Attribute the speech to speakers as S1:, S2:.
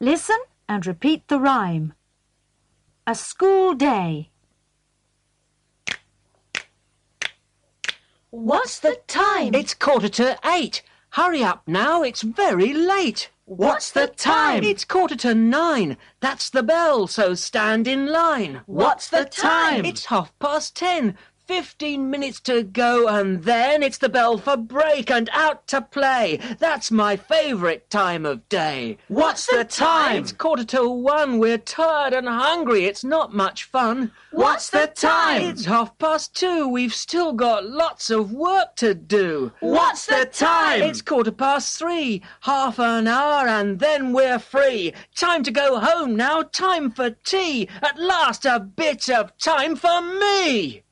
S1: Listen and repeat the rhyme. A school day.
S2: What's the time?
S3: It's quarter to eight. Hurry up now, it's very late.
S2: What's the time?
S3: It's quarter to nine. That's the bell, so stand in line.
S2: What's the time?
S3: It's half past ten. Fifteen minutes to go, and then it's the bell for break and out to play. That's my favourite time of day.
S2: What's the time?
S3: It's quarter to one. We're tired and hungry. It's not much fun.
S2: What's the time?
S3: It's half past two. We've still got lots of work to do.
S2: What's the time?
S3: It's quarter past three. Half an hour and then we're free. Time to go home now. Time for tea. At last, a bit of time for me.